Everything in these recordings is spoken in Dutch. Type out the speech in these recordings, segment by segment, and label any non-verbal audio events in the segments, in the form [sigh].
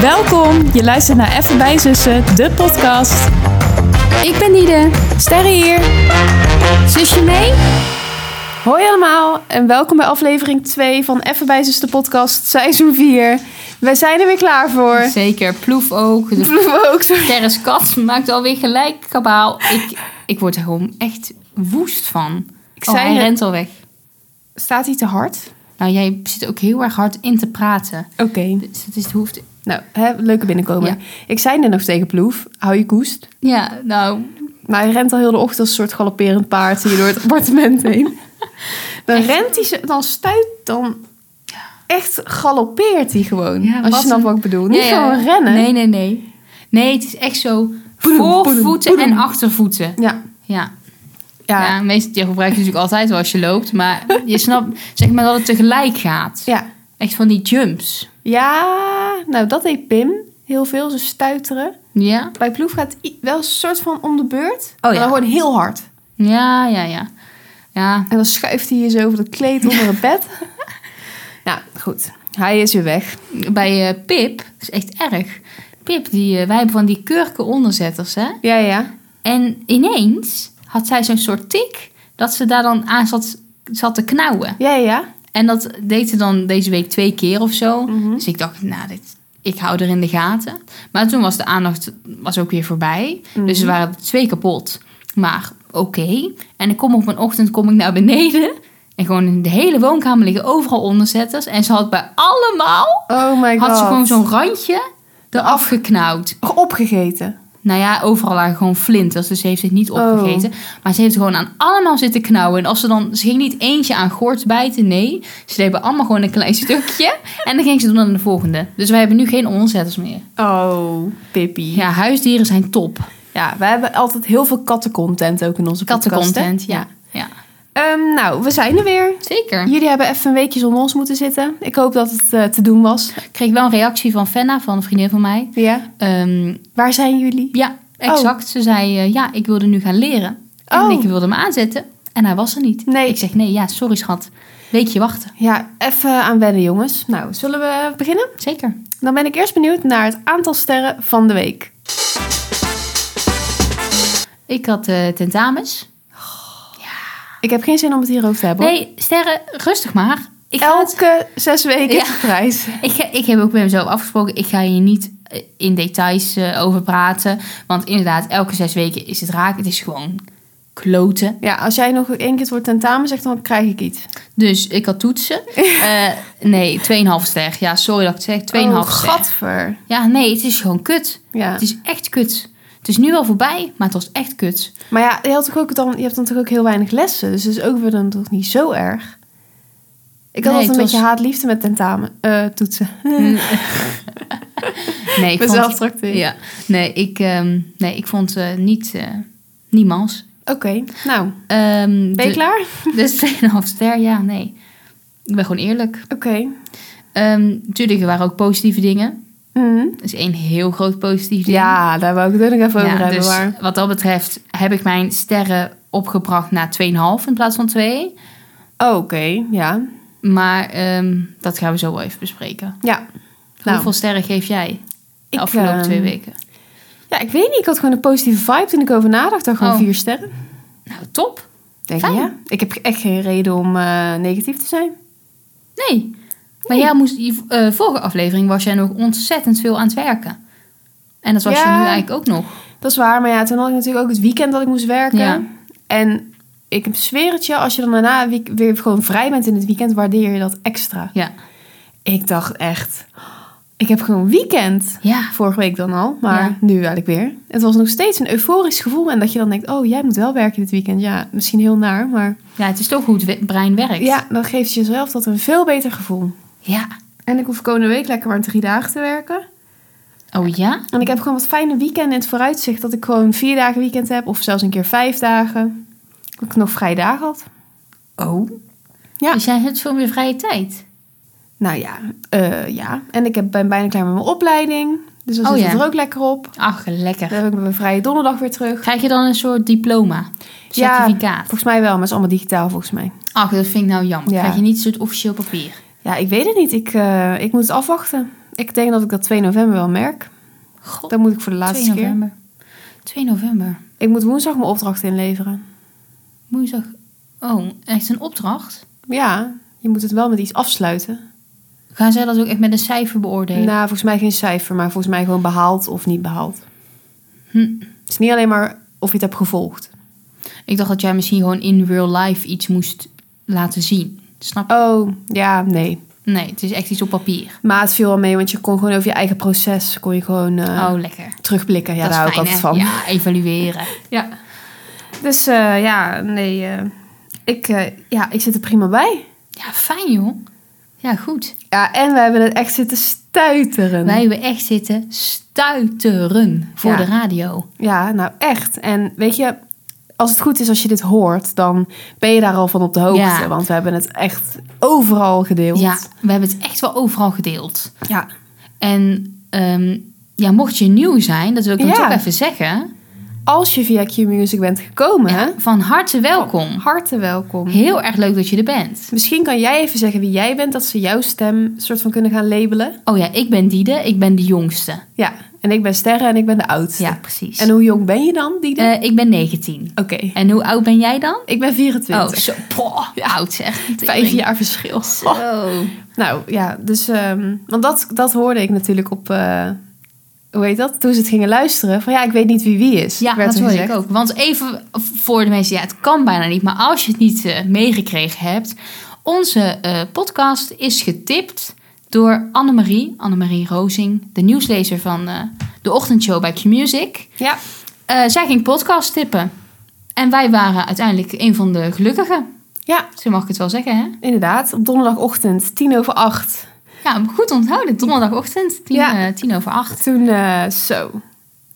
Welkom, je luistert naar Even bij Zussen, de podcast. Ik ben Nide. Sterre hier. Zusje mee? Hoi allemaal en welkom bij aflevering 2 van Even bij Zussen, de podcast, seizoen 4. Wij zijn er weer klaar voor. [laughs] Zeker. Ploef ook. De We ook zo- Terres kat maakt alweer gelijk kabaal. Ik, ik word er gewoon echt woest van. Ik zei zei hij het. rent al weg. Staat hij te hard? Nou, jij zit ook heel erg hard in te praten. Oké. Dus het, is, het hoeft... Nou, hè, leuke binnenkomen. Ja. Ik zei net nog tegen Ploef, hou je koest. Ja, nou... Maar hij rent al heel de ochtend als een soort galopperend paard hier door [laughs] het appartement heen. Dan rent hij, ze- dan stuit, dan echt galoppeert hij gewoon. Ja, als wat je snapt een- wat ik bedoel. ja, Niet ja. gewoon rennen. Nee, nee, nee. Nee, het is echt zo voorvoeten en achtervoeten. Ja. Ja. Ja. Ja, ja. meestal die gebruik je natuurlijk altijd wel als je loopt. Maar je snapt, zeg maar, dat het tegelijk gaat. Ja. Echt van die jumps. nou dat deed Pim heel veel, ze stuiteren. Ja. Bij Ploef gaat i- wel een soort van om de beurt, maar Oh, ja. dan gewoon heel hard. Ja, ja, ja. Ja, En dan schuift hij je zo over dat [laughs] kleed onder het bed. nou, goed. Hij is weer weg. bij eh, Pip, dat is echt erg. Pip, die, eh, wij hebben van die kurken onderzetters, hè. Ja, ja. En ineens had zij zo'n soort tik dat ze daar dan aan zat, zat te knauwen. Ja, ja. En dat deed ze dan deze week twee keer of zo. Dus ik dacht, nou, dit, ik hou er in de gaten. Maar toen was de aandacht was ook weer voorbij. Dus er waren twee kapot. Maar oké. En ik kom op een ochtend kom ik naar beneden. En gewoon in de hele woonkamer liggen overal onderzetters. En ze had bij allemaal, Oh my god. had ze gewoon zo'n randje eraf geknauwd. Opgegeten. Nou ja, overal lagen gewoon flinters. Dus ze heeft het niet opgegeten. Maar ze heeft gewoon aan allemaal zitten knauwen. En als ze dan... Ze ging niet eentje aan goort bijten, nee. Ze deden allemaal gewoon een klein [laughs] stukje. en dan ging ze doen aan de volgende. Dus wij hebben nu geen onderzetters meer. Oh, Pippi. Ja. Ja, huisdieren zijn top. we hebben altijd heel veel kattencontent ook in onze podcast. hè? Kattencontent, ja. ja. Ehm, nou, we zijn er weer. Zeker. Jullie hebben even een weekje zonder ons moeten zitten. Ik hoop dat het eh, te doen was. Ik kreeg wel een reactie van Fenna, van een vriendin van mij. Ja. Ehm, Waar zijn jullie? ja, exact. Ze zei, eh, ja, ik wilde nu gaan leren. En Oh. ik wilde hem aanzetten. En hij was er niet. Nee. Ik zeg, nee, ja, sorry schat. Weekje wachten. Ja, even aan wennen, jongens. Nou, zullen we beginnen? Zeker. Dan ben ik eerst benieuwd naar het aantal sterren van de week. Ik had eh, tentamens. Ik heb geen zin om het hierover te hebben. hoor. Nee, sterren, rustig maar. Ik, ga het- Elke zes weken Ja. is de prijs. ik, ga- ik heb ook met mezelf afgesproken, ik ga hier niet eh, in details eh, over praten. Want inderdaad, elke zes weken is het raak. Het is gewoon kloten. Ja, als jij nog één keer het woord tentamen zegt, dan krijg ik iets. Dus ik had toetsen. [laughs] Eh, nee, 2,5 ster. Ja, sorry dat ik het zeg. 2,5 Oh, ster. gadver. Ja, nee, het is gewoon kut. Ja. Het is echt kut. Het is nu wel voorbij, maar het was echt kut. Maar ja, je, had toch ook dan, je hebt dan toch ook heel weinig lessen. Dus dat is ook weer dan toch niet zo erg. Ik had Nee, altijd een het beetje was- haatliefde met tentamen, eh, toetsen. Nee, ik Mezelf vond... tracteren. Ja, nee, ik, ehm, nee, ik vond eh niet, eh niemals. Oké, nou, Ehm, ben je de- [laughs] klaar? Dus 2,5 ster, ja, nee. Ik ben gewoon eerlijk. Oké. Ehm natuurlijk, er waren ook positieve dingen. Mhm. Er is één heel groot positief ding. Ja, daar wou ik het ook nog even Ja, over hebben. dus maar... wat dat betreft heb ik mijn sterren opgebracht naar 2,5 in plaats van 2. Oh, Oké, ja. Maar ehm, dat gaan we zo wel even bespreken. Ja. Nou. Hoeveel sterren geef jij de Ik, afgelopen ehm, twee weken? ja, ik weet niet. Ik had gewoon een positieve vibe toen ik over nadacht. Dan gewoon Oh. vier sterren. Nou, top. Denk Fijn. je? Ja. Ik heb echt geen reden om eh, negatief te zijn. Nee. Maar jij moest, die eh, vorige aflevering was jij nog ontzettend veel aan het werken. En dat was je Ja. nu eigenlijk ook nog. Dat is waar, maar ja, toen had ik natuurlijk ook het weekend dat ik moest werken. Ja. En ik zweer het je, als je dan daarna week- weer gewoon vrij bent in het weekend, waardeer je dat extra. Ja. Ik dacht echt, ik heb gewoon weekend. Ja. Vorige week dan al, maar Ja. nu eigenlijk weer. Het was nog steeds een euforisch gevoel. En dat je dan denkt, oh, jij moet wel werken dit weekend. Ja, misschien heel naar, maar... Ja, het is toch hoe het we- brein werkt. Ja, dan geeft jezelf dat een veel beter gevoel. Ja. En ik hoef komende week lekker maar drie dagen te werken. Oh ja? En ik heb gewoon wat fijne weekenden in het vooruitzicht. Dat ik gewoon vier dagen weekend heb. Of zelfs een keer vijf dagen. Dat ik nog vrije dagen had. Oh. Ja. Dus jij hebt veel meer vrije tijd. Nou ja, eh, ja. En ik heb, ben bijna klaar met mijn opleiding. Dus dan Oh zit ja. het er ook lekker op. Ach, Dan lekker. heb ik mijn vrije donderdag weer terug. Krijg je dan een soort diploma? Certificaat? Volgens mij wel, maar het is allemaal digitaal volgens mij. Ach, dat vind ik nou jammer. Ja. Krijg je niet een soort officieel papier? Ja, ik weet het niet. Ik, eh, ik moet het afwachten. Ik denk dat ik dat 2 november wel merk. God, Dan moet ik voor de laatste 2 keer. november. 2 november. Ik moet woensdag mijn opdracht inleveren. Woensdag. Oh, echt een opdracht? Ja, je moet het wel met iets afsluiten. Gaan zij dat ook echt met een cijfer beoordelen? Nou, volgens mij geen cijfer, maar volgens mij gewoon behaald of niet behaald. Hm. Het is niet alleen maar of je het hebt gevolgd. Ik dacht dat jij misschien gewoon in real life iets moest laten zien. Snap je? Oh, ja, nee. Nee, het is echt iets op papier. Maar het viel wel mee, want je kon gewoon over je eigen proces kon je gewoon eh, Oh, lekker. terugblikken. Ja, dat is daar hou ik fijn, altijd hè? van. Ja, evalueren. Ja. Dus eh, ja, nee. eh, ik, eh, ja, ik zit er prima bij. Ja, fijn joh. Ja, goed. Ja, en we hebben het echt zitten stuiteren. Wij hebben echt zitten stuiteren voor Ja. de radio. Ja, nou echt. En weet je, als het goed is als je dit hoort, dan ben je daar al van op de hoogte. Ja. Want we hebben het echt overal gedeeld. Ja, we hebben het echt wel overal gedeeld. ja. En ehm, ja, mocht je nieuw zijn, dat wil ik dan Ja. toch even zeggen. Als je via Q-Music bent gekomen, Ja, van harte welkom. harte welkom. Heel erg leuk dat je er bent. Misschien kan jij even zeggen wie jij bent, dat ze jouw stem soort van kunnen gaan labelen. Oh ja, ik ben Diede, ik ben de jongste. Ja, en ik ben Sterre en ik ben de oudste. Ja, precies. En hoe jong ben je dan, die? Eh, ik ben 19. Oké, En hoe oud ben jij dan? ik ben 24. Oh, zo poh, oud zeg. Vijf jaar verschil. Oh, Zo. Nou ja, dus. ehm, want dat, dat hoorde ik natuurlijk op. eh, hoe heet dat? Toen ze het gingen luisteren. Van ja, ik weet niet wie wie is. Ja, werd dat er hoor ik gezegd. ook. Want even voor de mensen, ja, het kan bijna niet. Maar als je het niet eh, meegekregen hebt. Onze eh, podcast is getipt door Annemarie, Annemarie Rozing, de nieuwslezer van eh, de ochtendshow bij Q-Music. Ja, Eh, zij ging podcast tippen. En wij waren uiteindelijk een van de gelukkigen. ja, Zo mag ik het wel zeggen, hè? inderdaad. Op donderdagochtend, tien over acht. Ja, maar goed onthouden. Donderdagochtend, tien, Ja. eh, tien over acht. Toen eh, zo.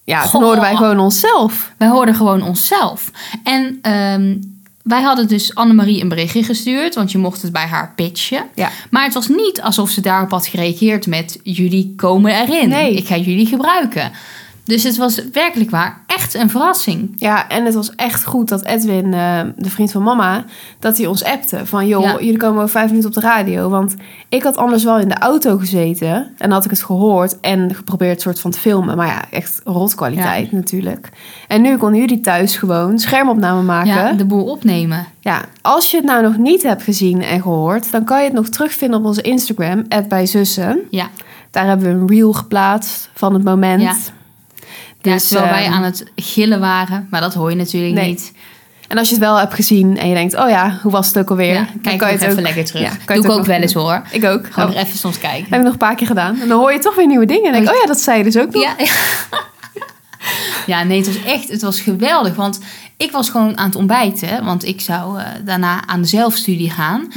Ja, toen Goh. hoorden wij gewoon onszelf. Wij hoorden gewoon onszelf. En ehm, wij hadden dus Annemarie een berichtje gestuurd, want je mocht het bij haar pitchen. Ja. Maar het was niet alsof ze daarop had gereageerd met: jullie komen erin, Nee. ik ga jullie gebruiken. Dus het was werkelijk waar echt een verrassing. Ja, en het was echt goed dat Edwin, eh, de vriend van mama, dat hij ons appte. Van joh, Ja. jullie komen over vijf minuten op de radio. Want ik had anders wel in de auto gezeten en had ik het gehoord en geprobeerd soort van te filmen. Maar ja, echt rotkwaliteit natuurlijk. En nu konden jullie thuis gewoon schermopname maken. Ja, Ja, de boel opnemen. als je het nou nog niet hebt gezien en gehoord, dan kan je het nog terugvinden op onze Instagram, @bijzussen. Ja. Daar hebben we een reel geplaatst van het moment. Ja. Ja, Dus, terwijl wij ehm, aan het gillen waren, maar dat hoor je natuurlijk Nee. niet. En als je het wel hebt gezien en je denkt, oh ja, hoe was het ook alweer? Ja, Dan kijk kan je nog het even ook- lekker terug. ja, kan je Doe het ik ook ook nog wel eens hoor. Ik ook. Gewoon Oh, er even soms kijken. Heb ik nog een paar keer gedaan. En dan hoor je toch weer nieuwe dingen. En denk ik, oh ja, dat zei je dus ook nog. Ja. [laughs] ja, nee, het was echt, het was geweldig. Want ik was gewoon aan het ontbijten, want ik zou eh, daarna aan de zelfstudie gaan.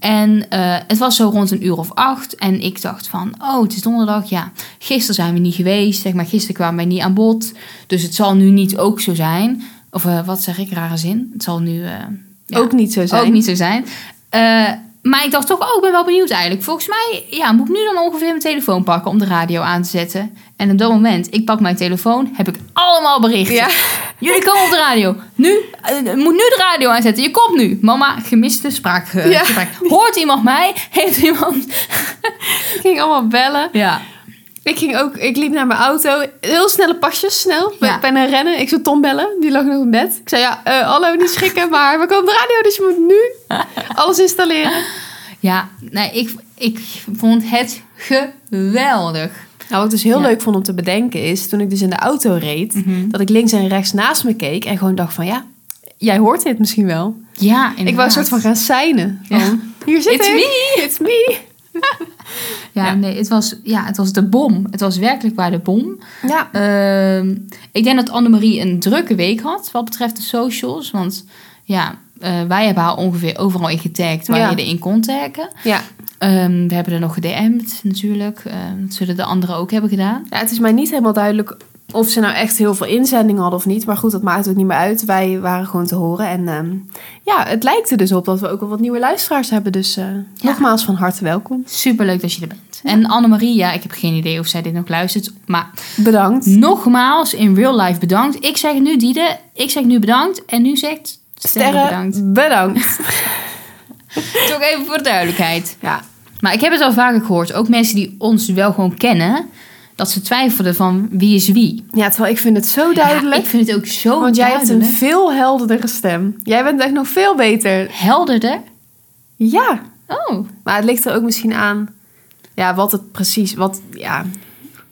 En eh, het was zo rond een uur of acht. En ik dacht van, oh, het is donderdag. Ja, gisteren zijn we niet geweest. Zeg maar, gisteren kwamen wij niet aan bod. Dus het zal nu niet ook zo zijn. Of eh, wat zeg ik, rare zin. Het zal nu... eh, ja, Ook niet zo zijn. ook niet zo zijn. Eh, maar ik dacht toch, oh, ik ben wel benieuwd eigenlijk. Volgens mij ja, moet ik nu dan ongeveer mijn telefoon pakken om de radio aan te zetten. En op dat moment, ik pak mijn telefoon, heb ik allemaal berichten. Ja. Jullie komen op de radio. Nu, eh, moet nu de radio aanzetten. Je komt nu. Mama, gemiste spraak. eh, Ja. gesprek. Hoort iemand mij? Heeft iemand... Ik ging allemaal bellen. Ja. Ik, ging ook, ik liep naar mijn auto. Heel snelle pasjes, snel. Ja. Ik ben naar rennen. Ik zou Tom bellen. Die lag nog in bed. Ik zei, ja, eh, hallo, niet schrikken. Maar we komen op de radio, dus je moet nu [laughs] alles installeren. Ja, nee, ik, ik vond het geweldig. Nou, wat ik dus heel Ja. Mhm. leuk vond om te bedenken is... toen ik dus in de auto reed... dat ik links en rechts naast me keek... en gewoon dacht van, ja, jij hoort dit misschien wel. Ja, Ik wou een inderdaad. soort van gaan seinen. Van, Ja. Hier zit It's ik. me. It's me. Ja, Ja. nee, het was, ja, het was de bom. Het was werkelijk waar de bom. Ja. Ehm, ik denk dat Annemarie een drukke week had wat betreft de socials. Want ja, eh, wij hebben haar ongeveer overal in getagd waar Ja. je erin kon taggen. Ja. Ehm, we hebben er nog gedM'd natuurlijk. Ehm, dat zullen de anderen ook hebben gedaan. ja, het is mij niet helemaal duidelijk of ze nou echt heel veel inzendingen hadden of niet. Maar goed, dat maakt ook niet meer uit. Wij waren gewoon te horen. En ehm, ja, het lijkt er dus op dat we ook al wat nieuwe luisteraars hebben. Dus eh, nogmaals van harte welkom. Superleuk dat je er bent. En Annemarie, ja, ik heb geen idee of zij dit nog luistert. Maar Bedankt. nogmaals, in real life bedankt. Ik zeg nu Diede, ik zeg nu bedankt. En nu zegt Sterre, Sterren, bedankt. bedankt. Toch even voor de duidelijkheid. Ja. Maar ik heb het al vaker gehoord, ook mensen die ons wel gewoon kennen, dat ze twijfelden van wie is wie. Ja, terwijl ik vind het zo duidelijk. Ja, ik vind het ook zo want jij hebt duidelijk. een veel helderdere stem. Jij bent echt nog veel beter. helderder. Ja. Oh, Maar het ligt er ook misschien aan. Ja, wat het precies. Wat, ja.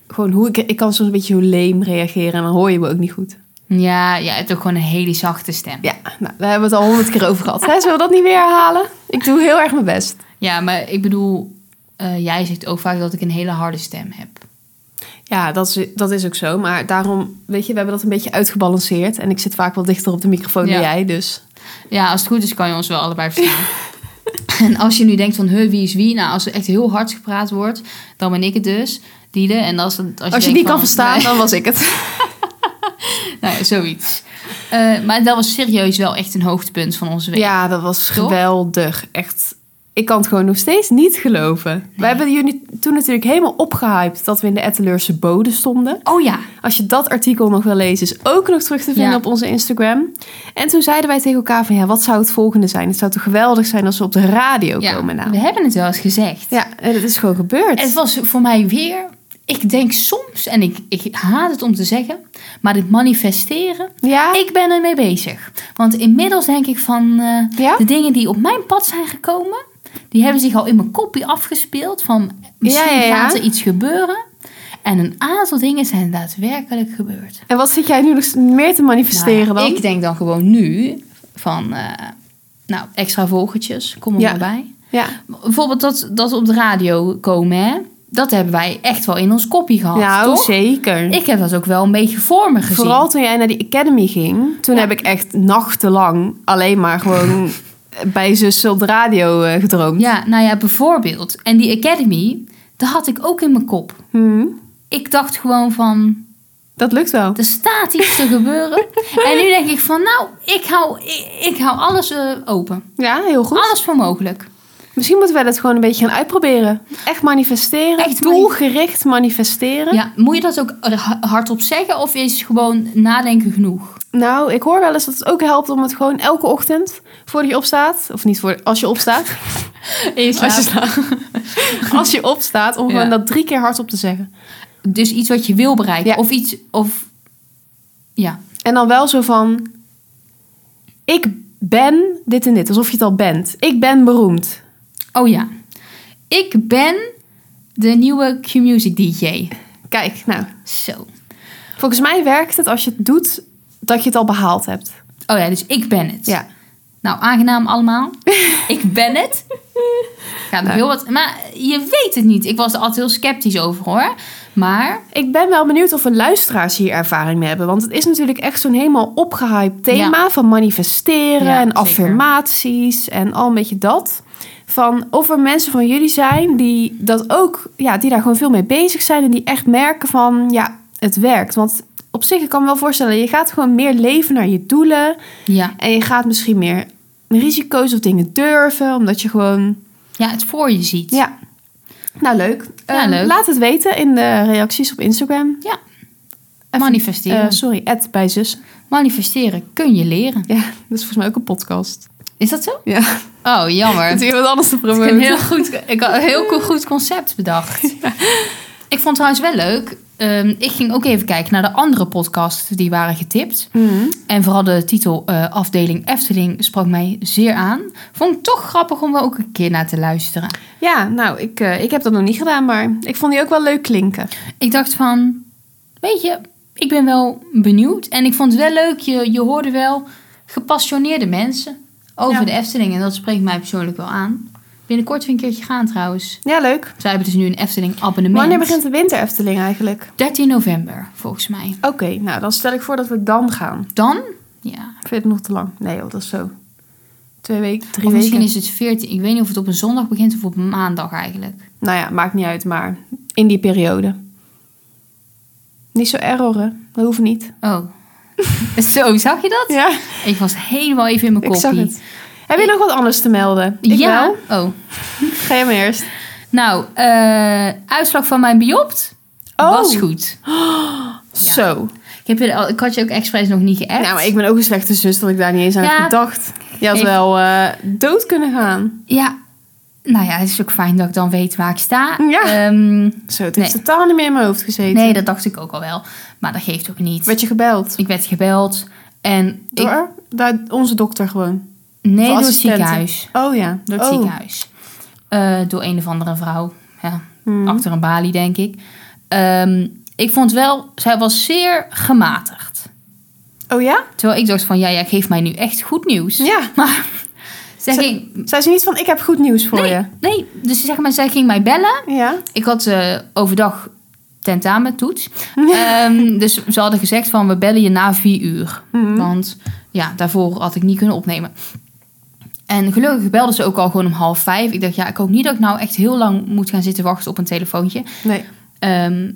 Gewoon hoe ik. Ik kan soms een beetje hoe leem reageren. En dan hoor je me ook niet goed. ja, ja, het is ook gewoon een hele zachte stem. Ja, nou, daar hebben we het al honderd keer over gehad. Hè? Zullen we dat niet weer herhalen? Ik doe heel erg mijn best. Ja, maar ik bedoel, eh, jij zegt ook vaak dat ik een hele harde stem heb. Ja, dat is, dat is ook zo. Maar daarom, weet je, we hebben dat een beetje uitgebalanceerd. En ik zit vaak wel dichter op de microfoon Ja. dan jij. Dus Ja, als het goed is kan je ons wel [laughs] allebei verstaan. en als je nu denkt van, huh, wie is wie? Nou, als er echt heel hard gepraat wordt, dan ben ik het dus. Diede. En als, het- als, als, je denkt die kan van, verstaan, nee, dan was ik het. [laughs] nou, ja, zoiets. Eh, maar dat was serieus wel echt een hoogtepunt van onze week. Ja, dat was Toch? geweldig. Echt. Ik kan het gewoon nog steeds niet geloven. We hebben jullie toen natuurlijk helemaal opgehyped dat we in de Etteleurse bode stonden. Oh ja. Als je dat artikel nog wil lezen, is ook nog terug te vinden Ja. op onze Instagram. En toen zeiden wij tegen elkaar van ja, wat zou het volgende zijn? Het zou toch geweldig zijn als we op de radio ja komen nou. we hebben het wel eens gezegd. Ja, en het is gewoon gebeurd. Het was voor mij weer... Ik denk soms, en ik, ik haat het om te zeggen, maar dit manifesteren, ja? ik ben ermee bezig. Want inmiddels denk ik van eh, Ja? de dingen die op mijn pad zijn gekomen, die hebben zich al in mijn kopie afgespeeld. Van misschien Ja, ja, ja. gaat er iets gebeuren. En een aantal dingen zijn daadwerkelijk gebeurd. En wat zit jij nu nog meer te manifesteren Nou ja, dan? Ik denk dan gewoon nu van, eh, nou, extra vogeltjes, kom er Ja. maar bij. Ja. Bijvoorbeeld dat, dat we op de radio komen, hè? dat hebben wij echt wel in ons kopie gehad, Nou, toch? zeker. Ik heb dat ook wel een beetje voor me gezien. Vooral toen jij naar die academy ging, toen Ja. heb ik echt nachtenlang alleen maar gewoon [laughs] bij zussen op de radio eh, gedroomd. Ja, nou ja, bijvoorbeeld. En die Academy, dat had ik ook in mijn kop. Hm, Ik dacht gewoon van, dat lukt wel. er staat iets te [laughs] gebeuren. En nu denk ik van, nou, ik hou, ik, ik hou alles eh, open. Ja, heel goed. Alles voor mogelijk. Misschien moeten wij dat gewoon een beetje gaan uitproberen. Echt manifesteren. Echt mani- doelgericht manifesteren. Ja, moet je dat ook ha- hardop zeggen of is gewoon nadenken genoeg? Nou, ik hoor wel eens dat het ook helpt om het gewoon elke ochtend voordat je opstaat. Of niet voor als je [laughs] opstaat. Als je slaapt. als je opstaat, om gewoon Ja. dat drie keer hardop te zeggen. Dus iets wat je wil bereiken. Ja. Of iets, of... Ja. En dan wel zo van. Ik ben dit en dit. Alsof je het al bent. Ik ben beroemd. Oh ja. Ik ben de nieuwe Q-Music DJ. Kijk, nou. Zo. Volgens mij werkt het als je het doet dat je het al behaald hebt. Oh ja, dus ik ben het. Ja. Nou, [laughs] aangenaam allemaal. ik ben het. Gaat nog Nou. heel wat. Maar je weet het niet. Ik was er altijd heel sceptisch over hoor. Maar Ik ben wel benieuwd of we luisteraars hier ervaring mee hebben. Want het is natuurlijk echt zo'n helemaal opgehyped thema van manifesteren Ja, en zeker. affirmaties en al een beetje dat. Van of er mensen van jullie zijn die dat ook, ja, die daar gewoon veel mee bezig zijn en die echt merken van ja, het werkt. Want op zich, ik kan me wel voorstellen, je gaat gewoon meer leven naar je doelen ja. en je gaat misschien meer risico's of dingen durven, omdat je gewoon ja, het voor je ziet. ja. Nou, leuk. Ja, Eh, leuk. Laat het weten in de reacties op Instagram. Ja. Even, Manifesteren. eh, sorry, at bij zus. Manifesteren kun je leren. Ja, dat is volgens mij ook een podcast. Is dat zo? [laughs] Ja, Oh, jammer. het Het is is iemand anders te een promoten. heel goed, ik had een heel co- goed concept bedacht. Ik vond trouwens wel leuk. ehm, ik ging ook even kijken naar de andere podcasts die waren getipt. Mhm. En vooral de titel eh, afdeling Efteling sprak mij zeer aan. Vond ik toch grappig om er ook een keer naar te luisteren. Ja, nou, ik, eh, ik heb dat nog niet gedaan, maar ik vond die ook wel leuk klinken. Ik dacht van, weet je, ik ben wel benieuwd. En ik vond het wel leuk, je, je hoorde wel gepassioneerde mensen over Ja. de Efteling. En dat spreekt mij persoonlijk wel aan. Binnenkort weer een keertje gaan trouwens. Ja, leuk. Zij hebben dus nu een Efteling abonnement. Wanneer begint de winter Efteling eigenlijk? 13 november, volgens mij. Oké, nou, dan stel ik voor dat we dan gaan. Dan? Ja. Vind je het nog te lang? Nee joh, dat is zo. Twee weken, drie Of misschien weken. is het 14. Ik weet niet of het op een zondag begint of op een maandag eigenlijk. Nou ja, maakt niet uit, maar in die periode. Niet zo erroren, dat hoeft niet. Oh. [laughs] Zo, zag je dat? Ja, Ik was helemaal even in mijn ik koppie. zag het. Heb je nog wat anders te melden? Ik ja. wel. Oh. Ga jij maar eerst. Nou, eh, uitslag van mijn biopt Oh. was goed. Ja. Zo. Ik, heb je, al- ik had je ook expres nog niet geappt. Nou, maar ik ben ook een slechte zus dat ik daar niet eens aan Ja. heb gedacht. Je had Geef- wel eh, dood kunnen gaan. Ja, Nou ja, het is ook fijn dat ik dan weet waar ik sta. Ja. Ehm, Zo, het heeft Nee. totaal niet meer in mijn hoofd gezeten. nee, dat dacht ik ook al wel. Maar dat geeft ook niet. Werd je gebeld? Ik werd gebeld. En ik, Door? Daar, onze dokter gewoon. nee, door het assistenten. ziekenhuis. Oh ja. Door het oh. ziekenhuis. Eh, door een of andere vrouw. Ja, Hmm. Achter een balie, denk ik. Ehm, ik vond wel, zij was zeer gematigd. Oh ja? Terwijl ik dacht van, ja, jij geeft mij nu echt goed nieuws. Ja. [laughs] Maar [laughs] zij Ze- ging... Zei ze niet van, ik heb goed nieuws voor Nee, je? nee, dus zeg maar, zij ging mij bellen. Ja. Ik had eh, overdag tentamentoets. Ehm dus ze hadden gezegd van, we bellen je na vier uur. Mhm. Want ja, daarvoor had ik niet kunnen opnemen. En gelukkig belden ze ook al gewoon om half vijf. Ik dacht, ja, ik hoop niet dat ik nou echt heel lang moet gaan zitten wachten op een telefoontje. Nee. Ehm,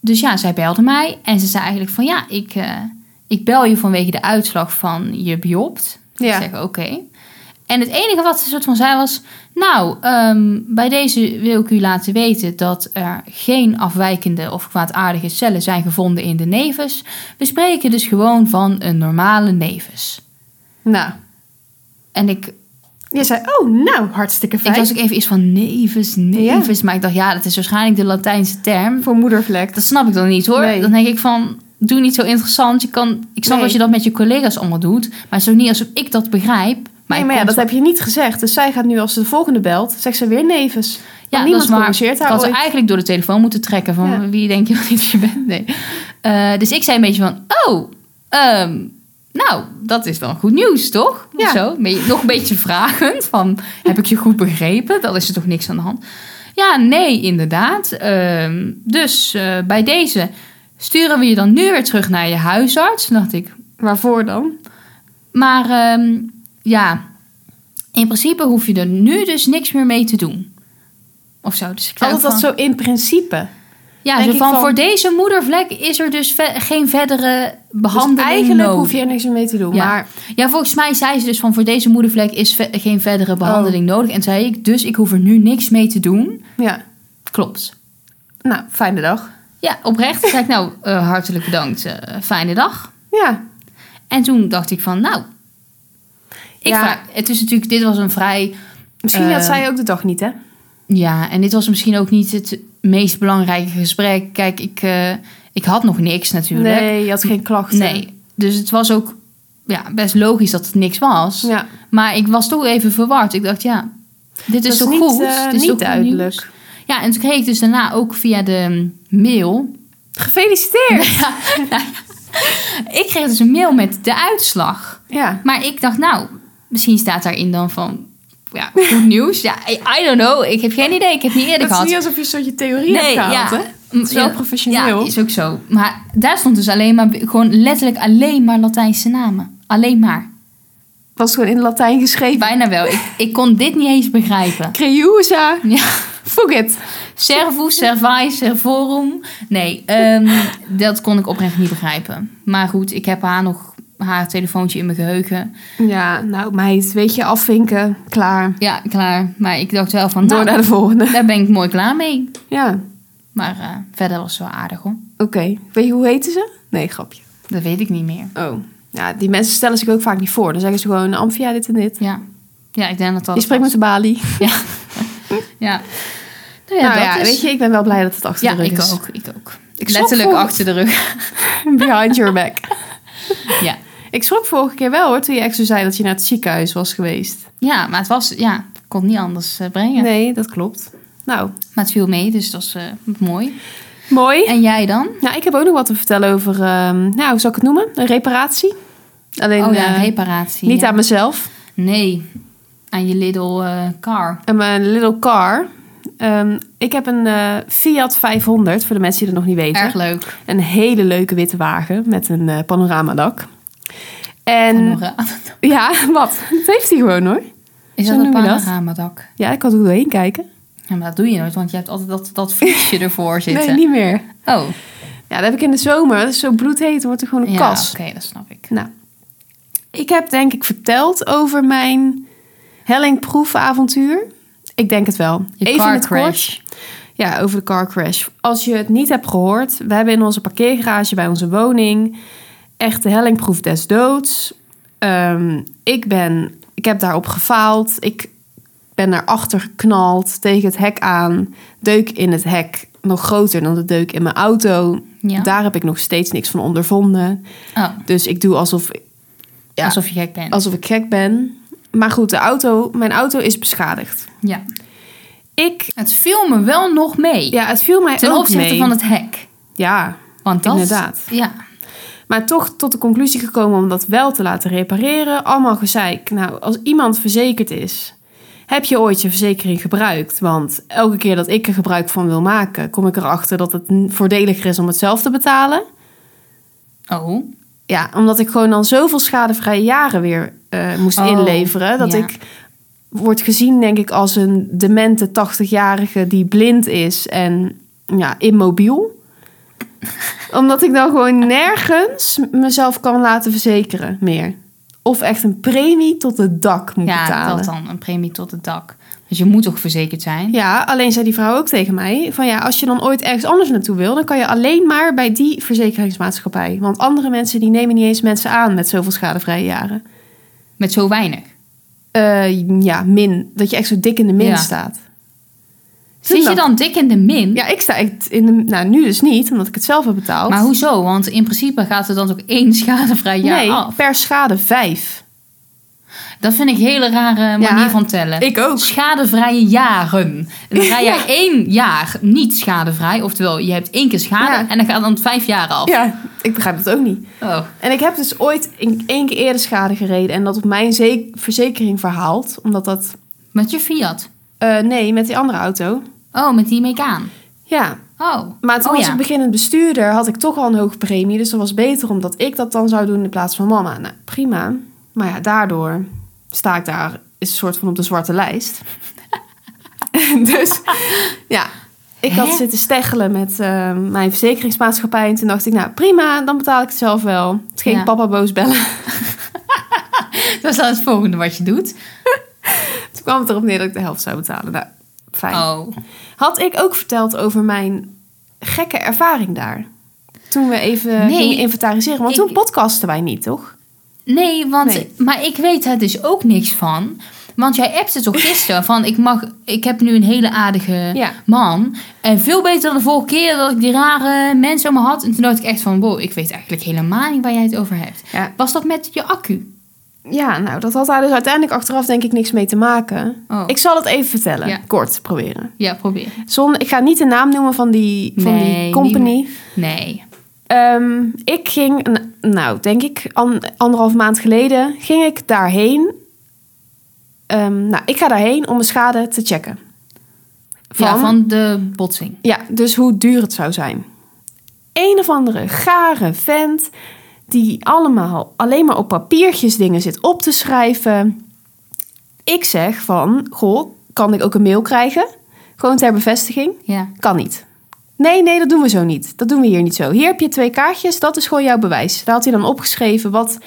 dus ja, zij belde mij en ze zei eigenlijk van ja, ik, eh, ik bel je vanwege de uitslag van je biopt. Dus Ja. Ik zeg oké. En het enige wat ze soort van zei was, nou, ehm, bij deze wil ik u laten weten dat er geen afwijkende of kwaadaardige cellen zijn gevonden in de nevens. We spreken dus gewoon van een normale nevens. Nou. En ik, Je zei, oh nou, hartstikke ik fijn. was ook even iets van nevens, nevens. Maar ik dacht, ja, dat is waarschijnlijk de Latijnse term. Voor moedervlek. Dat snap ik dan niet hoor. Nee. Dan denk ik van, doe niet zo interessant. Je kan, ik snap Nee. dat je dat met je collega's allemaal doet. Maar het is ook niet alsof ik dat begrijp. nee, ik maar ja, dat kon zo- heb je niet gezegd. Dus zij gaat nu, als ze de volgende belt, zegt ze weer nevens. Want ja, niemand dat is waar. corrigeert Ik haar had ze ooit. eigenlijk door de telefoon moeten trekken. Van Ja. wie denk je wel niet je bent? Nee. Eh, dus ik zei een beetje van, oh, ehm, nou, dat is wel goed nieuws, toch? Of Ja. Zo, een beetje- nog een beetje vragend van, heb ik je goed begrepen? Dan is er toch niks aan de hand. Ja, nee, inderdaad. Ehm, dus eh, bij deze sturen we je dan nu weer terug naar je huisarts. Toen dacht ik, Waarvoor dan? Maar ehm, ja, in principe hoef je er nu dus niks meer mee te doen. Of zo. Dus ik zei Altijd ook Oh, dat van- zo in principe. Dus Ja, denk zo ik van, van- voor deze moedervlek is er dus ve- geen verdere Dus behandeling eigenlijk nodig. hoef je er niks mee te doen. Ja. Maar Ja, volgens mij zei ze dus van voor deze moedervlek is ve- geen verdere Oh. behandeling nodig. En zei ik, dus ik hoef er nu niks mee te doen. ja, Klopt. nou, fijne dag. Ja, oprecht. zei ik, nou, eh, hartelijk bedankt. eh, fijne dag. Ja, En toen dacht ik van, nou... Ik Ja. vraag- het is natuurlijk, dit was een vrij misschien Eh, had zij ook de dag niet, hè? Ja, en dit was misschien ook niet het meest belangrijke gesprek. Kijk, ik, eh, ik had nog niks natuurlijk. Nee, je had geen klachten. Nee. Dus het was ook ja, best logisch dat het niks was. Ja, Maar ik was toch even verward. Ik dacht, ja, dit dat is toch niet, goed? eh, Dit niet is toch goed nieuws? duidelijk. Ja, en toen kreeg ik dus daarna ook via de [laughs] mail. Gefeliciteerd! Ik kreeg dus een mail met de uitslag. Ja, Maar ik dacht, nou, misschien staat daarin dan van. Ja, goed nieuws. Ja, I I don't know. Ik heb geen idee. Ik heb niet eerder dat is gehad. niet alsof je een soortje theorie hebt gehaald, hè? Mm, Het is wel ja. professioneel. Ja, is ook zo. Maar daar stond dus alleen maar, gewoon letterlijk alleen maar Latijnse namen. Alleen maar. Was gewoon in het Latijn geschreven. Bijna wel. Ik, ik kon dit niet eens begrijpen. [laughs] Creusa, Ja. Fugit. Servus, servai, servorum. Nee, ehm, dat kon ik oprecht niet begrijpen. Maar goed, ik heb haar nog haar telefoontje in mijn geheugen. Ja, nou meid, weet je, afvinken, klaar. Ja, klaar. Maar ik dacht wel van, Door nou, naar de [laughs] volgende. daar ben ik mooi klaar mee. Ja, Maar eh, verder was ze wel aardig hoor. oké. Weet je hoe heten ze? Nee, grapje. Dat weet ik niet meer. Oh. Ja, die mensen stellen zich ook vaak niet voor. Dan zeggen ze gewoon, Amphia, dit en dit. Ja, ja ik denk dat dat... Je spreekt met de balie. Ja. ja. Nou nou ja, weet je, ik ben wel blij dat het achter Ja, de rug ik is. ook. Ik ook. Ik schrok Letterlijk voor- achter de rug. [laughs] [laughs] Behind your back. ja. Ik schrok vorige keer wel hoor, toen je echt zo zei dat je naar het ziekenhuis was geweest. ja, maar het was... Ja, ik kon het niet anders eh, brengen. Nee, dat klopt. Nou, Maar het viel mee, dus dat was eh, mooi. mooi. En jij dan? Nou, ik heb ook nog wat te vertellen over, ehm, nou, hoe zal ik het noemen? Een reparatie. Alleen oh ja, eh, reparatie. niet ja. aan mezelf. Nee, aan je little eh, car. En mijn little car. Ehm, ik heb een eh, Fiat 500, voor de mensen die dat nog niet weten. Erg leuk. Een hele leuke witte wagen met een eh, panoramadak. En Panora- [laughs] ja, [laughs] wat? Dat heeft hij gewoon hoor. Is zo eh, dat een noem je dat? panoramadak? Ja, ik kan er doorheen kijken. Ja, maar dat doe je nooit, want je hebt altijd dat, [laughs] dat fietsje ervoor zitten. Nee, niet meer. Oh, Ja, dat heb ik in de zomer. Dat is zo bloedheet, wordt er gewoon een ja, kas. oké, dat snap ik. Nou, ik heb denk ik verteld over mijn hellingproefavontuur. Ik denk het wel. Je Even car in het crash. kort. Ja, over de car crash. Als je het niet hebt gehoord, we hebben in onze parkeergarage bij onze woning echt de hellingproef des doods. Ehm, ik ben, ik heb daarop gefaald. Ik ben naar achter geknald, tegen het hek aan. Deuk in het hek, nog groter dan de deuk in mijn auto. Ja. Daar heb ik nog steeds niks van ondervonden. Oh, Dus ik doe alsof, ja, alsof... alsof je gek bent. alsof ik gek ben. Maar goed, de auto, mijn auto is beschadigd. Ja. Ik, Het viel me wel nog mee. ja, het viel mij ten ook opzichte mee. van het hek. Ja, Want dat, Inderdaad. Ja. Maar toch tot de conclusie gekomen om dat wel te laten repareren. Allemaal gezeik. Nou, als iemand verzekerd is, heb je ooit je verzekering gebruikt? Want elke keer dat ik er gebruik van wil maken, kom ik erachter dat het n- voordeliger is om het zelf te betalen. Oh. Ja, omdat ik gewoon dan zoveel schadevrije jaren weer eh, moest Oh, inleveren. Dat ja. ik word gezien, denk ik, als een demente 80-jarige die blind is en ja, [laughs] immobiel. omdat ik dan gewoon nergens mezelf kan laten verzekeren meer. Of echt een premie tot het dak moet Ja, betalen. dat dan. Een premie tot het dak. Dus je moet toch verzekerd zijn? Ja, alleen zei die vrouw ook tegen mij: van ja, als je dan ooit ergens anders naartoe wil, dan kan je alleen maar bij die verzekeringsmaatschappij. Want andere mensen die nemen niet eens mensen aan met zoveel schadevrije jaren. Met zo weinig. Eh, ja, min. Dat je echt zo dik in de min Ja. staat. Zit je dat- dan dik in de min? Ja, ik sta echt in de. Nou, nu dus niet, omdat ik het zelf heb betaald. Maar hoezo? Want in principe gaat er dan ook één [laughs] schadevrij jaar nee, af. per schade vijf. Dat vind ik een hele rare Ja, manier van tellen. ik ook. Schadevrije [laughs] jaren. En dan ga je Ja. één jaar niet schadevrij. Oftewel, je hebt één keer schade Ja. en dan gaat dan vijf jaar af. Ja, ik begrijp dat ook niet. Oh. En ik heb dus ooit in- één keer eerder schade gereden en dat op mijn ze- verzekering verhaald. Omdat dat. Met je Fiat. eh, nee, met die andere auto. Oh, met die Mekaan. Ja, Oh. Maar toen oh, was ja. ik beginnend bestuurder, had ik toch al een hoge premie. Dus dat was beter omdat ik dat dan zou doen in plaats van mama. Nou, prima. Maar ja, daardoor sta ik daar is een soort van op de zwarte lijst. [laughs] dus ja, ik had Hè? zitten steggelen met eh, mijn verzekeringsmaatschappij. En toen dacht ik, nou prima, dan betaal ik het zelf wel. Het ging Ja. papa boos bellen. [laughs] [laughs] Dat is dan het volgende wat je doet. Toen kwam het erop neer dat ik de helft zou betalen. Nou, fijn. Oh. Had ik ook verteld over mijn gekke ervaring daar? Toen we even Nee, gingen inventariseren. Want ik- toen podcasten wij niet, toch? Nee, want, Nee. maar ik weet er dus ook niks van. Want jij appte toch [laughs] gisteren van ik mag, ik heb nu een hele aardige Ja. man. En veel beter dan de vorige keer dat ik die rare mensen om me had. En toen dacht ik echt van wow, ik weet eigenlijk helemaal niet waar jij het over hebt. Ja. Was dat met je accu? Ja, nou, dat had daar dus uiteindelijk achteraf denk ik niks mee te maken. Oh. Ik zal het even vertellen. Ja. Kort proberen. Ja, probeer. Zon, ik ga niet de naam noemen van die, van die Nee, niet company. Nee. Ehm, ik ging, een- nou, denk ik an- anderhalf maand geleden, ging ik daarheen. Ehm, nou, ik ga daarheen om mijn schade te checken. Van? Ja, van de botsing. Ja, dus hoe duur het zou zijn. Een of andere gare vent die allemaal alleen maar op papiertjes dingen zit op te schrijven. Ik zeg van, goh, kan ik ook een mail krijgen? Gewoon ter bevestiging. Ja. Kan niet. Nee, nee, dat doen we zo niet. Dat doen we hier niet zo. Hier heb je twee kaartjes, dat is gewoon jouw bewijs. Daar had hij dan opgeschreven wat...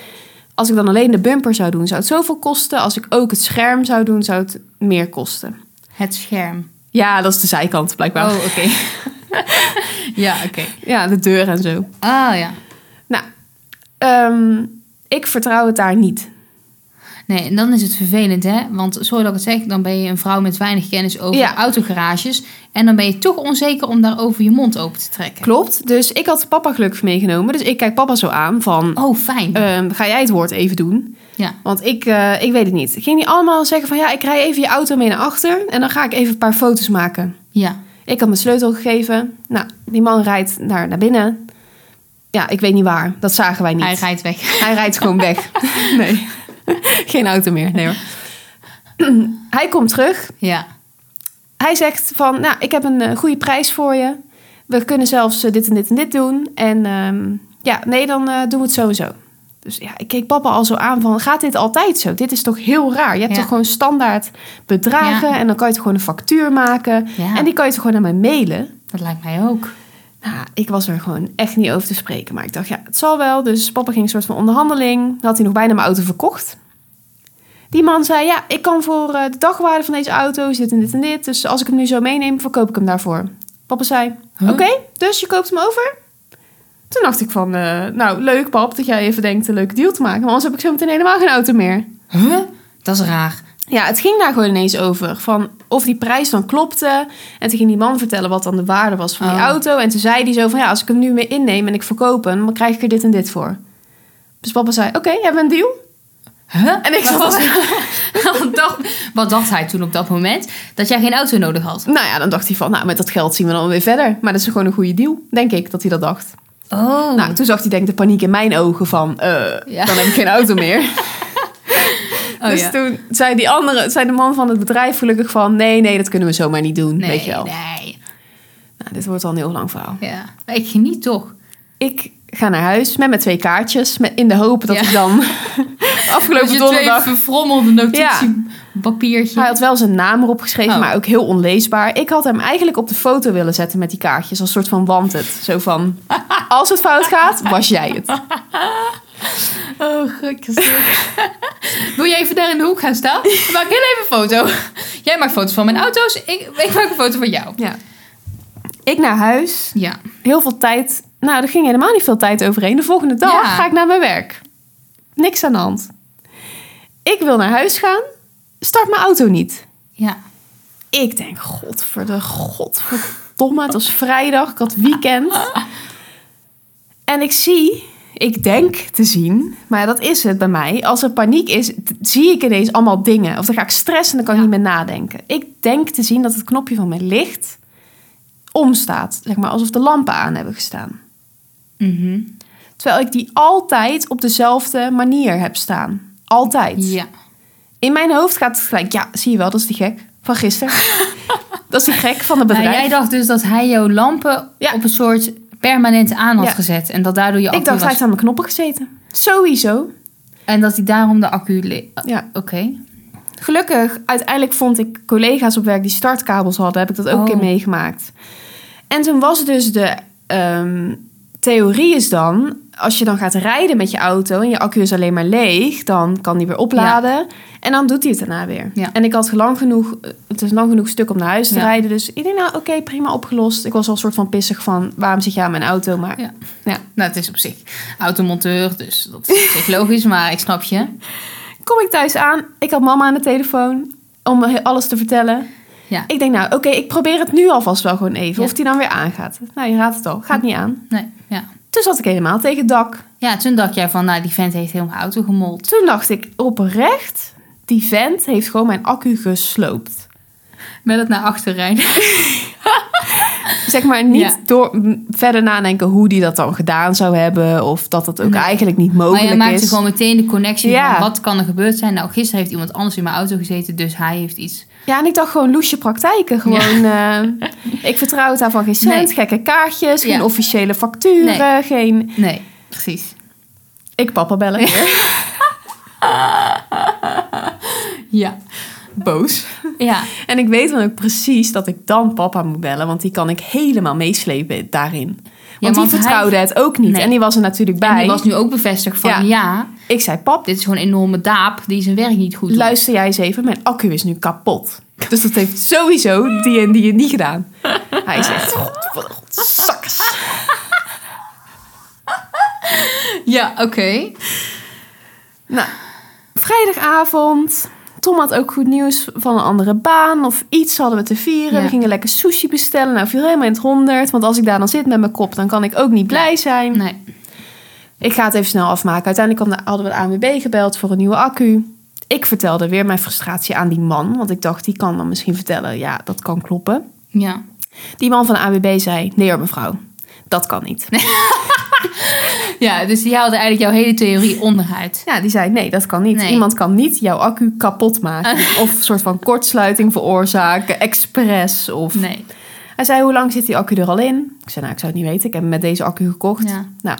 Als ik dan alleen de bumper zou doen, zou het zoveel kosten. Als ik ook het scherm zou doen, zou het meer kosten. Het scherm. Ja, dat is de zijkant blijkbaar. Oh, oké. [laughs] ja, oké. Ja, de deur en zo. Ah ja. Nou, ehm, ik vertrouw het daar niet. Nee, en dan is het vervelend, hè? Want sorry dat ik het zeg, dan ben je een vrouw met weinig kennis over Ja. autogarages. En dan ben je toch onzeker om daarover je mond open te trekken. Klopt, dus ik had papa gelukkig meegenomen. Dus ik kijk papa zo aan van, Oh, fijn. ehm, ga jij het woord even doen? ja. Want ik, eh, ik weet het niet. Ging die allemaal zeggen van, ja, ik rij even je auto mee naar achter. En dan ga ik even een paar foto's maken. Ja. Ik had mijn sleutel gegeven. Nou, die man rijdt naar, naar binnen. Ja, ik weet niet waar. Dat zagen wij niet. Hij rijdt weg. [laughs] Hij rijdt gewoon weg. nee, [laughs] geen auto meer. Nee hoor. [clears throat] Hij komt terug. Ja. Hij zegt van, nou, ik heb een eh, goede prijs voor je. We kunnen zelfs eh, dit en dit en dit doen. En ehm, ja, nee, dan eh, doen we het zo en zo. Dus ja, ik keek papa al zo aan van, gaat dit altijd zo? Dit is toch heel raar? Je hebt Ja. toch gewoon standaard bedragen... Ja. en dan kan je toch gewoon een factuur maken... Ja. en die kan je toch gewoon naar mij mailen? Dat lijkt mij ook. Nou, ik was er gewoon echt niet over te spreken. Maar ik dacht, ja, het zal wel. Dus papa ging een soort van onderhandeling. Had hij nog bijna mijn auto verkocht. Die man zei, ja, ik kan voor eh, de dagwaarde van deze auto is dit en dit en dit. Dus als ik hem nu zo meeneem, verkoop ik hem daarvoor. Papa zei, Huh? oké, dus je koopt hem over? Toen dacht ik van, eh, nou, leuk pap, dat jij even denkt een leuke deal te maken. Want anders heb ik zo meteen helemaal geen auto meer. Huh? Dat is raar. [laughs] Ja, het ging daar gewoon ineens over. Van of die prijs dan klopte. En toen ging die man vertellen wat dan de waarde was van die Oh. auto. En toen zei hij zo van ja, als ik hem nu mee inneem en ik verkoop hem, dan krijg ik er dit en dit voor. Dus papa zei, oké, hebben we een deal? Huh? En ik [laughs] Wat was- was- wat, dacht, wat dacht hij toen op dat moment? Dat jij geen auto nodig had. Nou ja, dan dacht hij van, nou, met dat geld zien we dan weer verder. Maar dat is gewoon een goede deal, denk ik, dat hij dat dacht. Oh. Nou, toen zag hij denk ik de paniek in mijn ogen van, eh, Ja. dan heb ik geen auto meer. [laughs] oh, dus ja. toen zei, die andere, zei de man van het bedrijf gelukkig van... nee, nee, dat kunnen we zomaar niet doen, nee, weet je wel. Nee. Nou, dit wordt al een heel lang verhaal. Ja. Maar ik geniet toch. Ik ga naar huis met mijn twee kaartjes... Met, in de hoop dat Ja. ik [laughs] dan afgelopen je donderdag... twee verfrommelde notitiepapiertje. Hij had wel zijn naam erop geschreven, Oh. maar ook heel onleesbaar. Ik had hem eigenlijk op de foto willen zetten met die kaartjes. Als soort van wanted. Zo [laughs] van, als het fout gaat, was jij het. Oh, gelukkig. [laughs] Wil jij even daar in de hoek gaan staan? Dan maak ik heel even een foto. Jij maakt foto's van mijn auto's. Ik, ik maak een foto van jou. Ja. Ik naar huis. Ja. Heel veel tijd. Nou, er ging helemaal niet veel tijd overheen. De volgende dag Ja. ga ik naar mijn werk. Niks aan de hand. Ik wil naar huis gaan. Start mijn auto niet. Ja. Ik denk, godverde, godverdomme. Het was vrijdag, ik had weekend. En ik zie, ik denk te zien, maar dat is het bij mij. Als er paniek is, t- zie ik ineens allemaal dingen. Of dan ga ik stressen en dan kan ik Ja. niet meer nadenken. Ik denk te zien dat het knopje van mijn licht omstaat. Zeg maar, alsof de lampen aan hebben gestaan. Mhm. Terwijl ik die altijd op dezelfde manier heb staan. Altijd. Ja. In mijn hoofd gaat het gelijk, ja, zie je wel, dat is die gek van [laughs] gisteren. dat is die gek van het Nou, bedrijf. jij dacht dus dat hij jouw lampen Ja. op een soort permanent aan had Ja. gezet. En dat daardoor je accu ik dacht, hij was. heeft aan mijn knoppen gezeten. Sowieso. En dat hij daarom de accu... le- Ja. Oké. Gelukkig, uiteindelijk vond ik collega's op werk die startkabels hadden. Heb ik dat ook een Oh. keer meegemaakt. En toen was dus de ehm, theorie is dan... als je dan gaat rijden met je auto en je accu is alleen maar leeg... dan kan die weer opladen. En dan doet hij het daarna weer. Ja. En ik had lang genoeg, het is een lang genoeg stuk om naar huis te Ja. rijden. Dus ik denk, nou oké, prima opgelost. Ik was al een soort van pissig van... waarom zit je aan mijn auto? Maar Ja. ja. Nou, het is op zich automonteur, dus dat is op [laughs] zich logisch, maar ik snap je. Kom ik thuis aan. Ik had mama aan de telefoon om me alles te vertellen. Ja. Ik denk nou, oké, ik probeer het nu alvast wel gewoon even. Ja. Of die dan weer aangaat. Nou, je raadt het al. Gaat niet aan. Nee, ja. Toen zat ik helemaal tegen het dak. Ja, toen dacht jij van, nou, die vent heeft heel mijn auto gemold. Toen dacht ik oprecht, die vent heeft gewoon mijn accu gesloopt. Met het naar achter rijden. Zeg maar niet Ja. door m, verder nadenken hoe die dat dan gedaan zou hebben. Of dat dat ook Nee. eigenlijk niet Maar mogelijk je maakte is. gewoon meteen de connectie Ja. van, wat kan er gebeurd zijn? Nou, gisteren heeft iemand anders in mijn auto gezeten, dus hij heeft iets. Ja, en ik dacht gewoon loesje praktijken. [laughs] Gewoon, eh, ik vertrouw het daarvan geen cent. Nee. Gekke kaartjes, geen Ja. officiële facturen, geen... Nee, precies. Ik papa bellen [laughs] weer. Ja. Boos. Ja. En ik weet dan ook precies dat ik dan papa moet bellen. Want die kan ik helemaal meeslepen daarin. Want, die want hij- vertrouwde het ook niet. Nee. En die was er natuurlijk En bij. die was nu ook bevestigd van, Ja. ja. Ik zei, pap, dit is gewoon een enorme daap die zijn werk niet goed doet. luister jij eens even. Mijn accu is nu kapot. Dus dat heeft sowieso die en die en die gedaan. Hij zegt, godverdomme, godzakkers. Ja, oké. Nou, vrijdagavond. Tom had ook goed nieuws van een andere baan of iets hadden we te vieren. Ja. We gingen lekker sushi bestellen. Nou, viel helemaal in het honderd. Want als ik daar dan zit met mijn kop, dan kan ik ook niet blij zijn. Nee. Ik ga het even snel afmaken. Uiteindelijk kwam de- hadden we de ANWB gebeld voor een nieuwe accu. Ik vertelde weer mijn frustratie aan die man. Want ik dacht, die kan dan misschien vertellen, ja, dat kan kloppen. Ja. Die man van de ANWB zei, nee hoor mevrouw, dat kan niet. Ja, dus die haalde eigenlijk jouw hele theorie onderuit. Ja, die zei, nee, dat kan niet. Nee. Iemand kan niet jouw accu kapot [laughs] maken. of een soort van kortsluiting veroorzaken, expres. Of... Nee. Hij zei, hoe lang zit die accu er al in? Ik zei, nou, ik zou het niet weten. Ik heb hem met deze accu gekocht. Ja. Nou,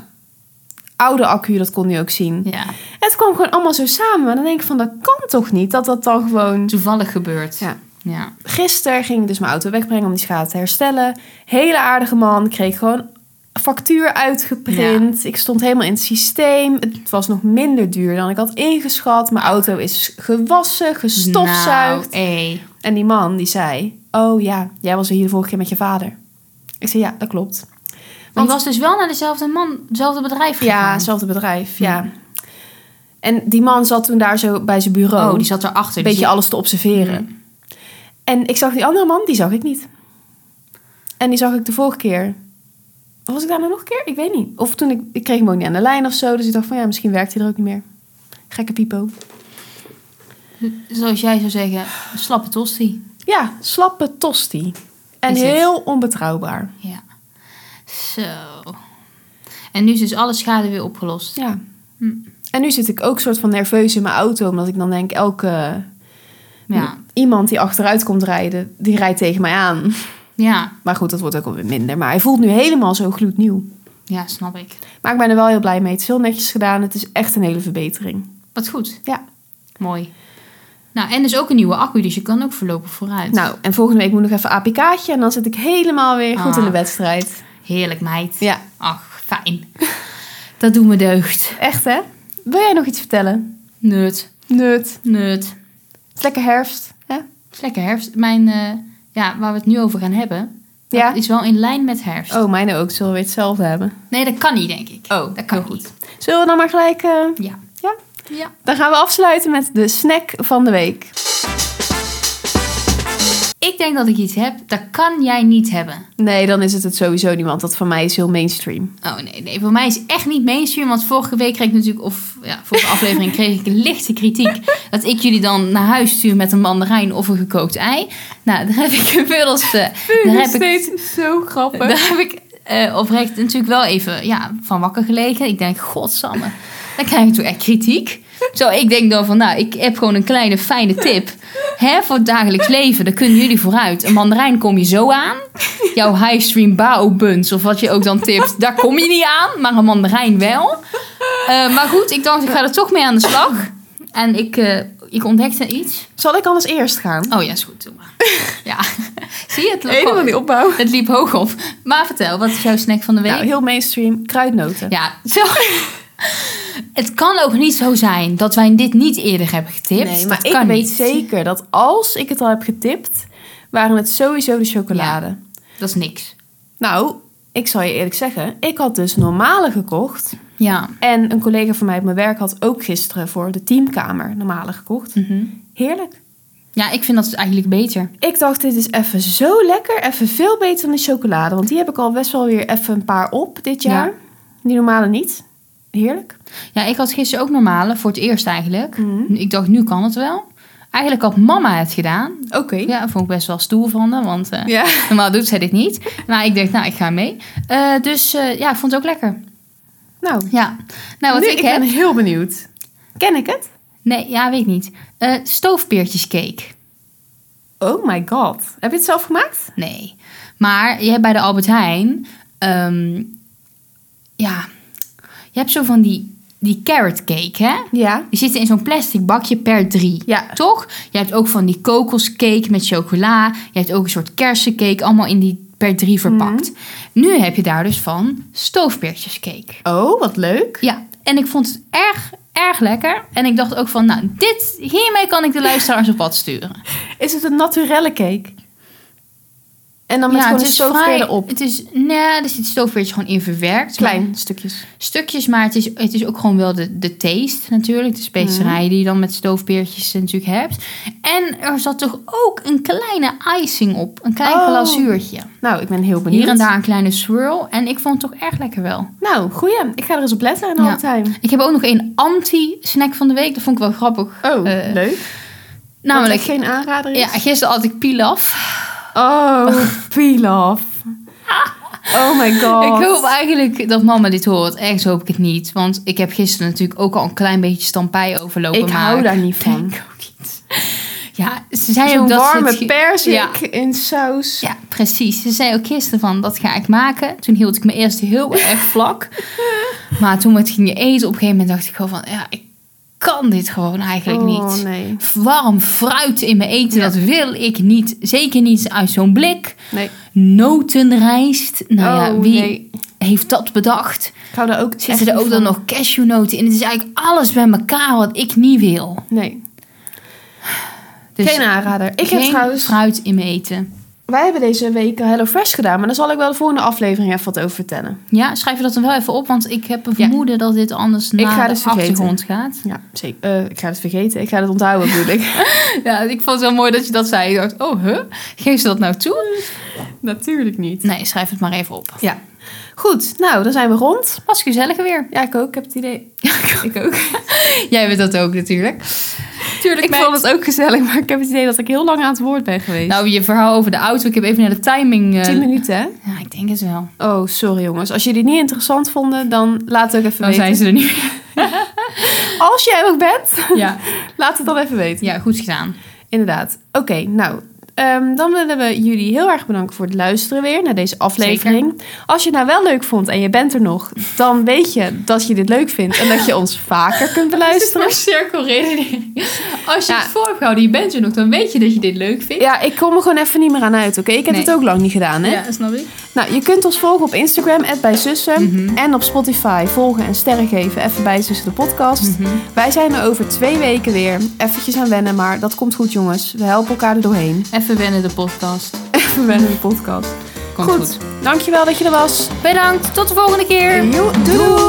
oude accu, dat kon hij ook zien. Ja. Het kwam gewoon allemaal zo samen. Maar dan denk ik van, dat kan toch niet? Dat dat dan gewoon... Toevallig gebeurd. Ja. Ja. Gisteren ging ik dus mijn auto wegbrengen om die schade te herstellen. Hele aardige man. Kreeg gewoon factuur uitgeprint. Ik stond helemaal in het systeem. Het was nog minder duur dan ik had ingeschat. Mijn auto is gewassen, gestofzuigd. Nou, hé. En die man die zei... Oh ja, jij was hier de vorige keer met je vader. Ik zei, ja, dat klopt. Want die was dus wel naar dezelfde man, dezelfde bedrijf gegaan. Ja, hetzelfde bedrijf, ja. En die man zat toen daar zo bij zijn bureau. Oh, die zat erachter. een Die beetje zit- alles te observeren. Mhm. En ik zag die andere man, die zag ik niet. En die zag ik de vorige keer. Of Was ik daar nou nog een keer? Ik weet niet. Of toen ik, ik kreeg hem ook niet aan de lijn of zo. Dus ik dacht van ja, misschien werkt hij er ook niet meer. Gekke piepo. Zoals jij zou zeggen, een slappe tosti. Ja, slappe tosti. En Is het. heel onbetrouwbaar. Ja. Zo. En nu is dus alle schade weer opgelost. Ja. Hm. En nu zit ik ook soort van nerveus in mijn auto. Omdat ik dan denk, elke Ja. iemand die achteruit komt rijden, die rijdt tegen mij aan. Ja, Maar goed, dat wordt ook alweer minder. Maar hij voelt nu helemaal zo gloednieuw. ja snap ik. Maar ik ben er wel heel blij mee. Het is heel netjes gedaan. Het is echt een hele verbetering. Wat goed. Ja. Mooi. Nou, en dus ook een nieuwe accu, dus je kan ook voorlopig vooruit. Nou, en volgende week moet nog even APK'tje. En dan zit ik helemaal weer goed in de Ah. wedstrijd. Heerlijk, meid. Ja, Ach, fijn. [laughs] Dat doen we deugd. echt hè? Wil jij nog iets vertellen? Nut, Nut. Het nut. is lekker herfst, hè? Het is lekker herfst. Mijn, eh, ja, waar we het nu over gaan hebben, dat Ja. is wel in lijn met herfst. Oh, mijne ook. Zullen we weer hetzelfde hebben? Nee, dat kan niet, denk ik. Oh, dat kan heel niet. Zullen we dan maar gelijk... eh, Ja. Ja? Ja. Dan gaan we afsluiten met de snack van de week. Ik denk dat ik iets heb, dat kan jij niet hebben. Nee, dan is het het sowieso niet, want dat van mij is heel mainstream. Oh nee, nee, voor mij is echt niet mainstream. Want vorige week kreeg ik natuurlijk, of ja, vorige aflevering kreeg ik lichte kritiek. Dat ik jullie dan naar huis stuur met een mandarijn of een gekookt ei. Nou, daar heb ik inmiddels, eh daar heb ik steeds zo grappig. Daar heb ik eh, oprecht natuurlijk wel even ja, van wakker gelegen. Ik denk, godsamme, dan krijg ik toen echt kritiek. Zo, ik denk dan van, nou, ik heb gewoon een kleine fijne tip. Hè, voor het dagelijks leven, daar kunnen jullie vooruit. Een mandarijn kom je zo aan. Jouw highstream bao buns, of wat je ook dan tipt, daar kom je niet aan. Maar een mandarijn wel. Eh, maar goed, ik dacht, ik ga er toch mee aan de slag. En ik, eh, ik ontdekte iets. Zal ik anders eerst gaan? Oh ja, is goed, doe maar. Ja, [laughs] zie je het? Helemaal die opbouw. Het liep hoog op. Maar vertel, wat is jouw snack van de week? Nou, heel mainstream. Kruidnoten. Ja, zo. [laughs] Het kan ook niet zo zijn dat wij dit niet eerder hebben getipt. Nee, maar Dat ik kan weet niet. zeker dat als ik het al heb getipt, waren het sowieso de chocolade. Dat is niks. Nou, ik zal je eerlijk zeggen, ik had dus normale gekocht. Ja. En een collega van mij op mijn werk had ook gisteren voor de teamkamer normale gekocht. Mhm. Heerlijk. Ja, ik vind dat eigenlijk beter. Ik dacht, dit is even zo lekker. Even veel beter dan de chocolade. Want die heb ik al best wel weer even een paar op dit Ja. jaar. Die normale niet. Heerlijk. Ja, ik had gisteren ook normale, voor het eerst eigenlijk. Mhm. Ik dacht, nu kan het wel. Eigenlijk had mama het gedaan. Oké. Ja. Ja, vond ik best wel stoer van haar, want eh, [laughs] normaal doet zij dit niet. Maar ik dacht, nou, ik ga mee. Eh, dus eh, ja, ik vond het ook lekker. Nou, Ja. Nou, wat nu, ik, ik heb... ben heel benieuwd. Ken ik het? Nee, ja, weet ik niet. Eh stoofpeertjescake. Oh my god. Heb je het zelf gemaakt? Nee. Maar je hebt bij de Albert Heijn... ehm, ja, je hebt zo van die, die carrot cake, hè? Ja. Die zitten in zo'n plastic bakje per drie. Ja. Toch? Je hebt ook van die kokoscake met chocola. Je hebt ook een soort kersencake. Allemaal in die per drie verpakt. Nu heb je daar dus van stoofpeertjescake. Oh, wat leuk. Ja, en ik vond het erg, erg lekker. En ik dacht ook van, nou, dit, hiermee kan ik de luisteraars op pad sturen. Is het een naturelle cake? En dan met ja, gewoon een stoofperen op. Het is, nee, er zit stoofpeertje gewoon in verwerkt. Klein Maar- stukjes. Stukjes, maar het is, het is ook gewoon wel de, de taste natuurlijk. De Mhm. specerij die je dan met stoofpeertjes natuurlijk hebt. En er zat toch ook een kleine icing op. Een klein Oh, glazuurtje. Nou, ik ben heel benieuwd. Hier en daar een kleine swirl. En ik vond het toch erg lekker wel. Nou, goeie. Ik ga er eens op letten in Ja. ja. time. Ik heb ook nog een anti-snack van de week. Dat vond ik wel grappig. Oh, Eh, leuk. Namelijk Namelijk, geen aanrader is. ja, gisteren had ik pilaf. [laughs] Oh, pilaf. Oh my god. Ik hoop eigenlijk dat mama dit hoort. Ergens hoop ik het niet. Want ik heb gisteren natuurlijk ook al een klein beetje stampij overlopen. Ik maar hou daar niet van. denk ook niet. [laughs] Ja, ze zei Zo'n ook dat ze het warme ge- perzik Ja. in saus. Ja, precies. Ze zei ook gisteren van, dat ga ik maken. Toen hield ik me [laughs] eerst heel erg vlak. Maar toen we het gingen eten, op een gegeven moment dacht ik gewoon van... Ja, ik kan dit gewoon eigenlijk Oh, niet. nee. Warm fruit in mijn eten, dat wil ik niet. Zeker niet uit zo'n blik. Nee, Notenrijst. Nou ja, Oh, wie nee. heeft dat bedacht? ik hou daar ook Zitten echt er ook niet dan van. nog cashewnoten in? Het is eigenlijk alles bij elkaar wat ik niet wil. Nee, Dus geen aanrader. Ik heb geen trouwens... fruit in mijn eten. wij hebben deze week Hello Fresh gedaan, maar daar zal ik wel de volgende aflevering even wat over vertellen. Ja, schrijf je dat dan wel even op, want ik heb een vermoeden dat dit anders naar ga de dus vergeten. achtergrond gaat. Ja, zeker. Eh, ik ga het vergeten. Ik ga het onthouden, bedoel ik. [laughs] Ja, ik vond het wel mooi dat je dat zei. Ik dacht, oh, huh? Geef ze dat nou toe? [laughs] Natuurlijk niet. Nee, schrijf het maar even op. Ja. Goed, nou, dan zijn we rond. Was gezellig weer. Ja, ik ook. Ik heb het idee. [laughs] ik ook. Jij bent dat ook natuurlijk. Tuurlijk, Ik vond het ook gezellig, maar ik heb het idee dat ik heel lang aan het woord ben geweest. Nou, je verhaal over de auto. Ik heb even naar de timing... eh, 10 minuten, hè? Ja, ik denk het wel. Oh, sorry jongens. Als jullie het niet interessant vonden, dan laat het ook even Dan weten. zijn ze er niet meer. Als jij er nog bent, [laughs] Ja, laat het dan even weten. ja goed [laughs] gedaan. Inderdaad. Oké, nou. ehm, dan willen we jullie heel erg bedanken voor het luisteren weer naar deze aflevering. Als je het nou wel leuk vond en je bent er nog, dan weet je dat je dit leuk vindt en dat je ons vaker kunt beluisteren. cirkelredenering. Als Ja. voor hebt gehouden, je bent er nog, dan weet je dat je dit leuk vindt. Ja, ik kom er gewoon even niet meer aan uit, oké? Ik heb Nee. het ook lang niet gedaan, hè? snap ik. Nou, je kunt ons volgen op Instagram, @bijzussen. En op Spotify volgen en sterren geven, even bij Zussen de podcast. Wij zijn er over twee weken weer. Eventjes aan wennen, maar dat komt goed, jongens. We helpen elkaar er doorheen. Even wennen de podcast. Even wennen de podcast. Komt goed. dankjewel dat je er was. Bedankt, tot de volgende keer. Doei. Doei.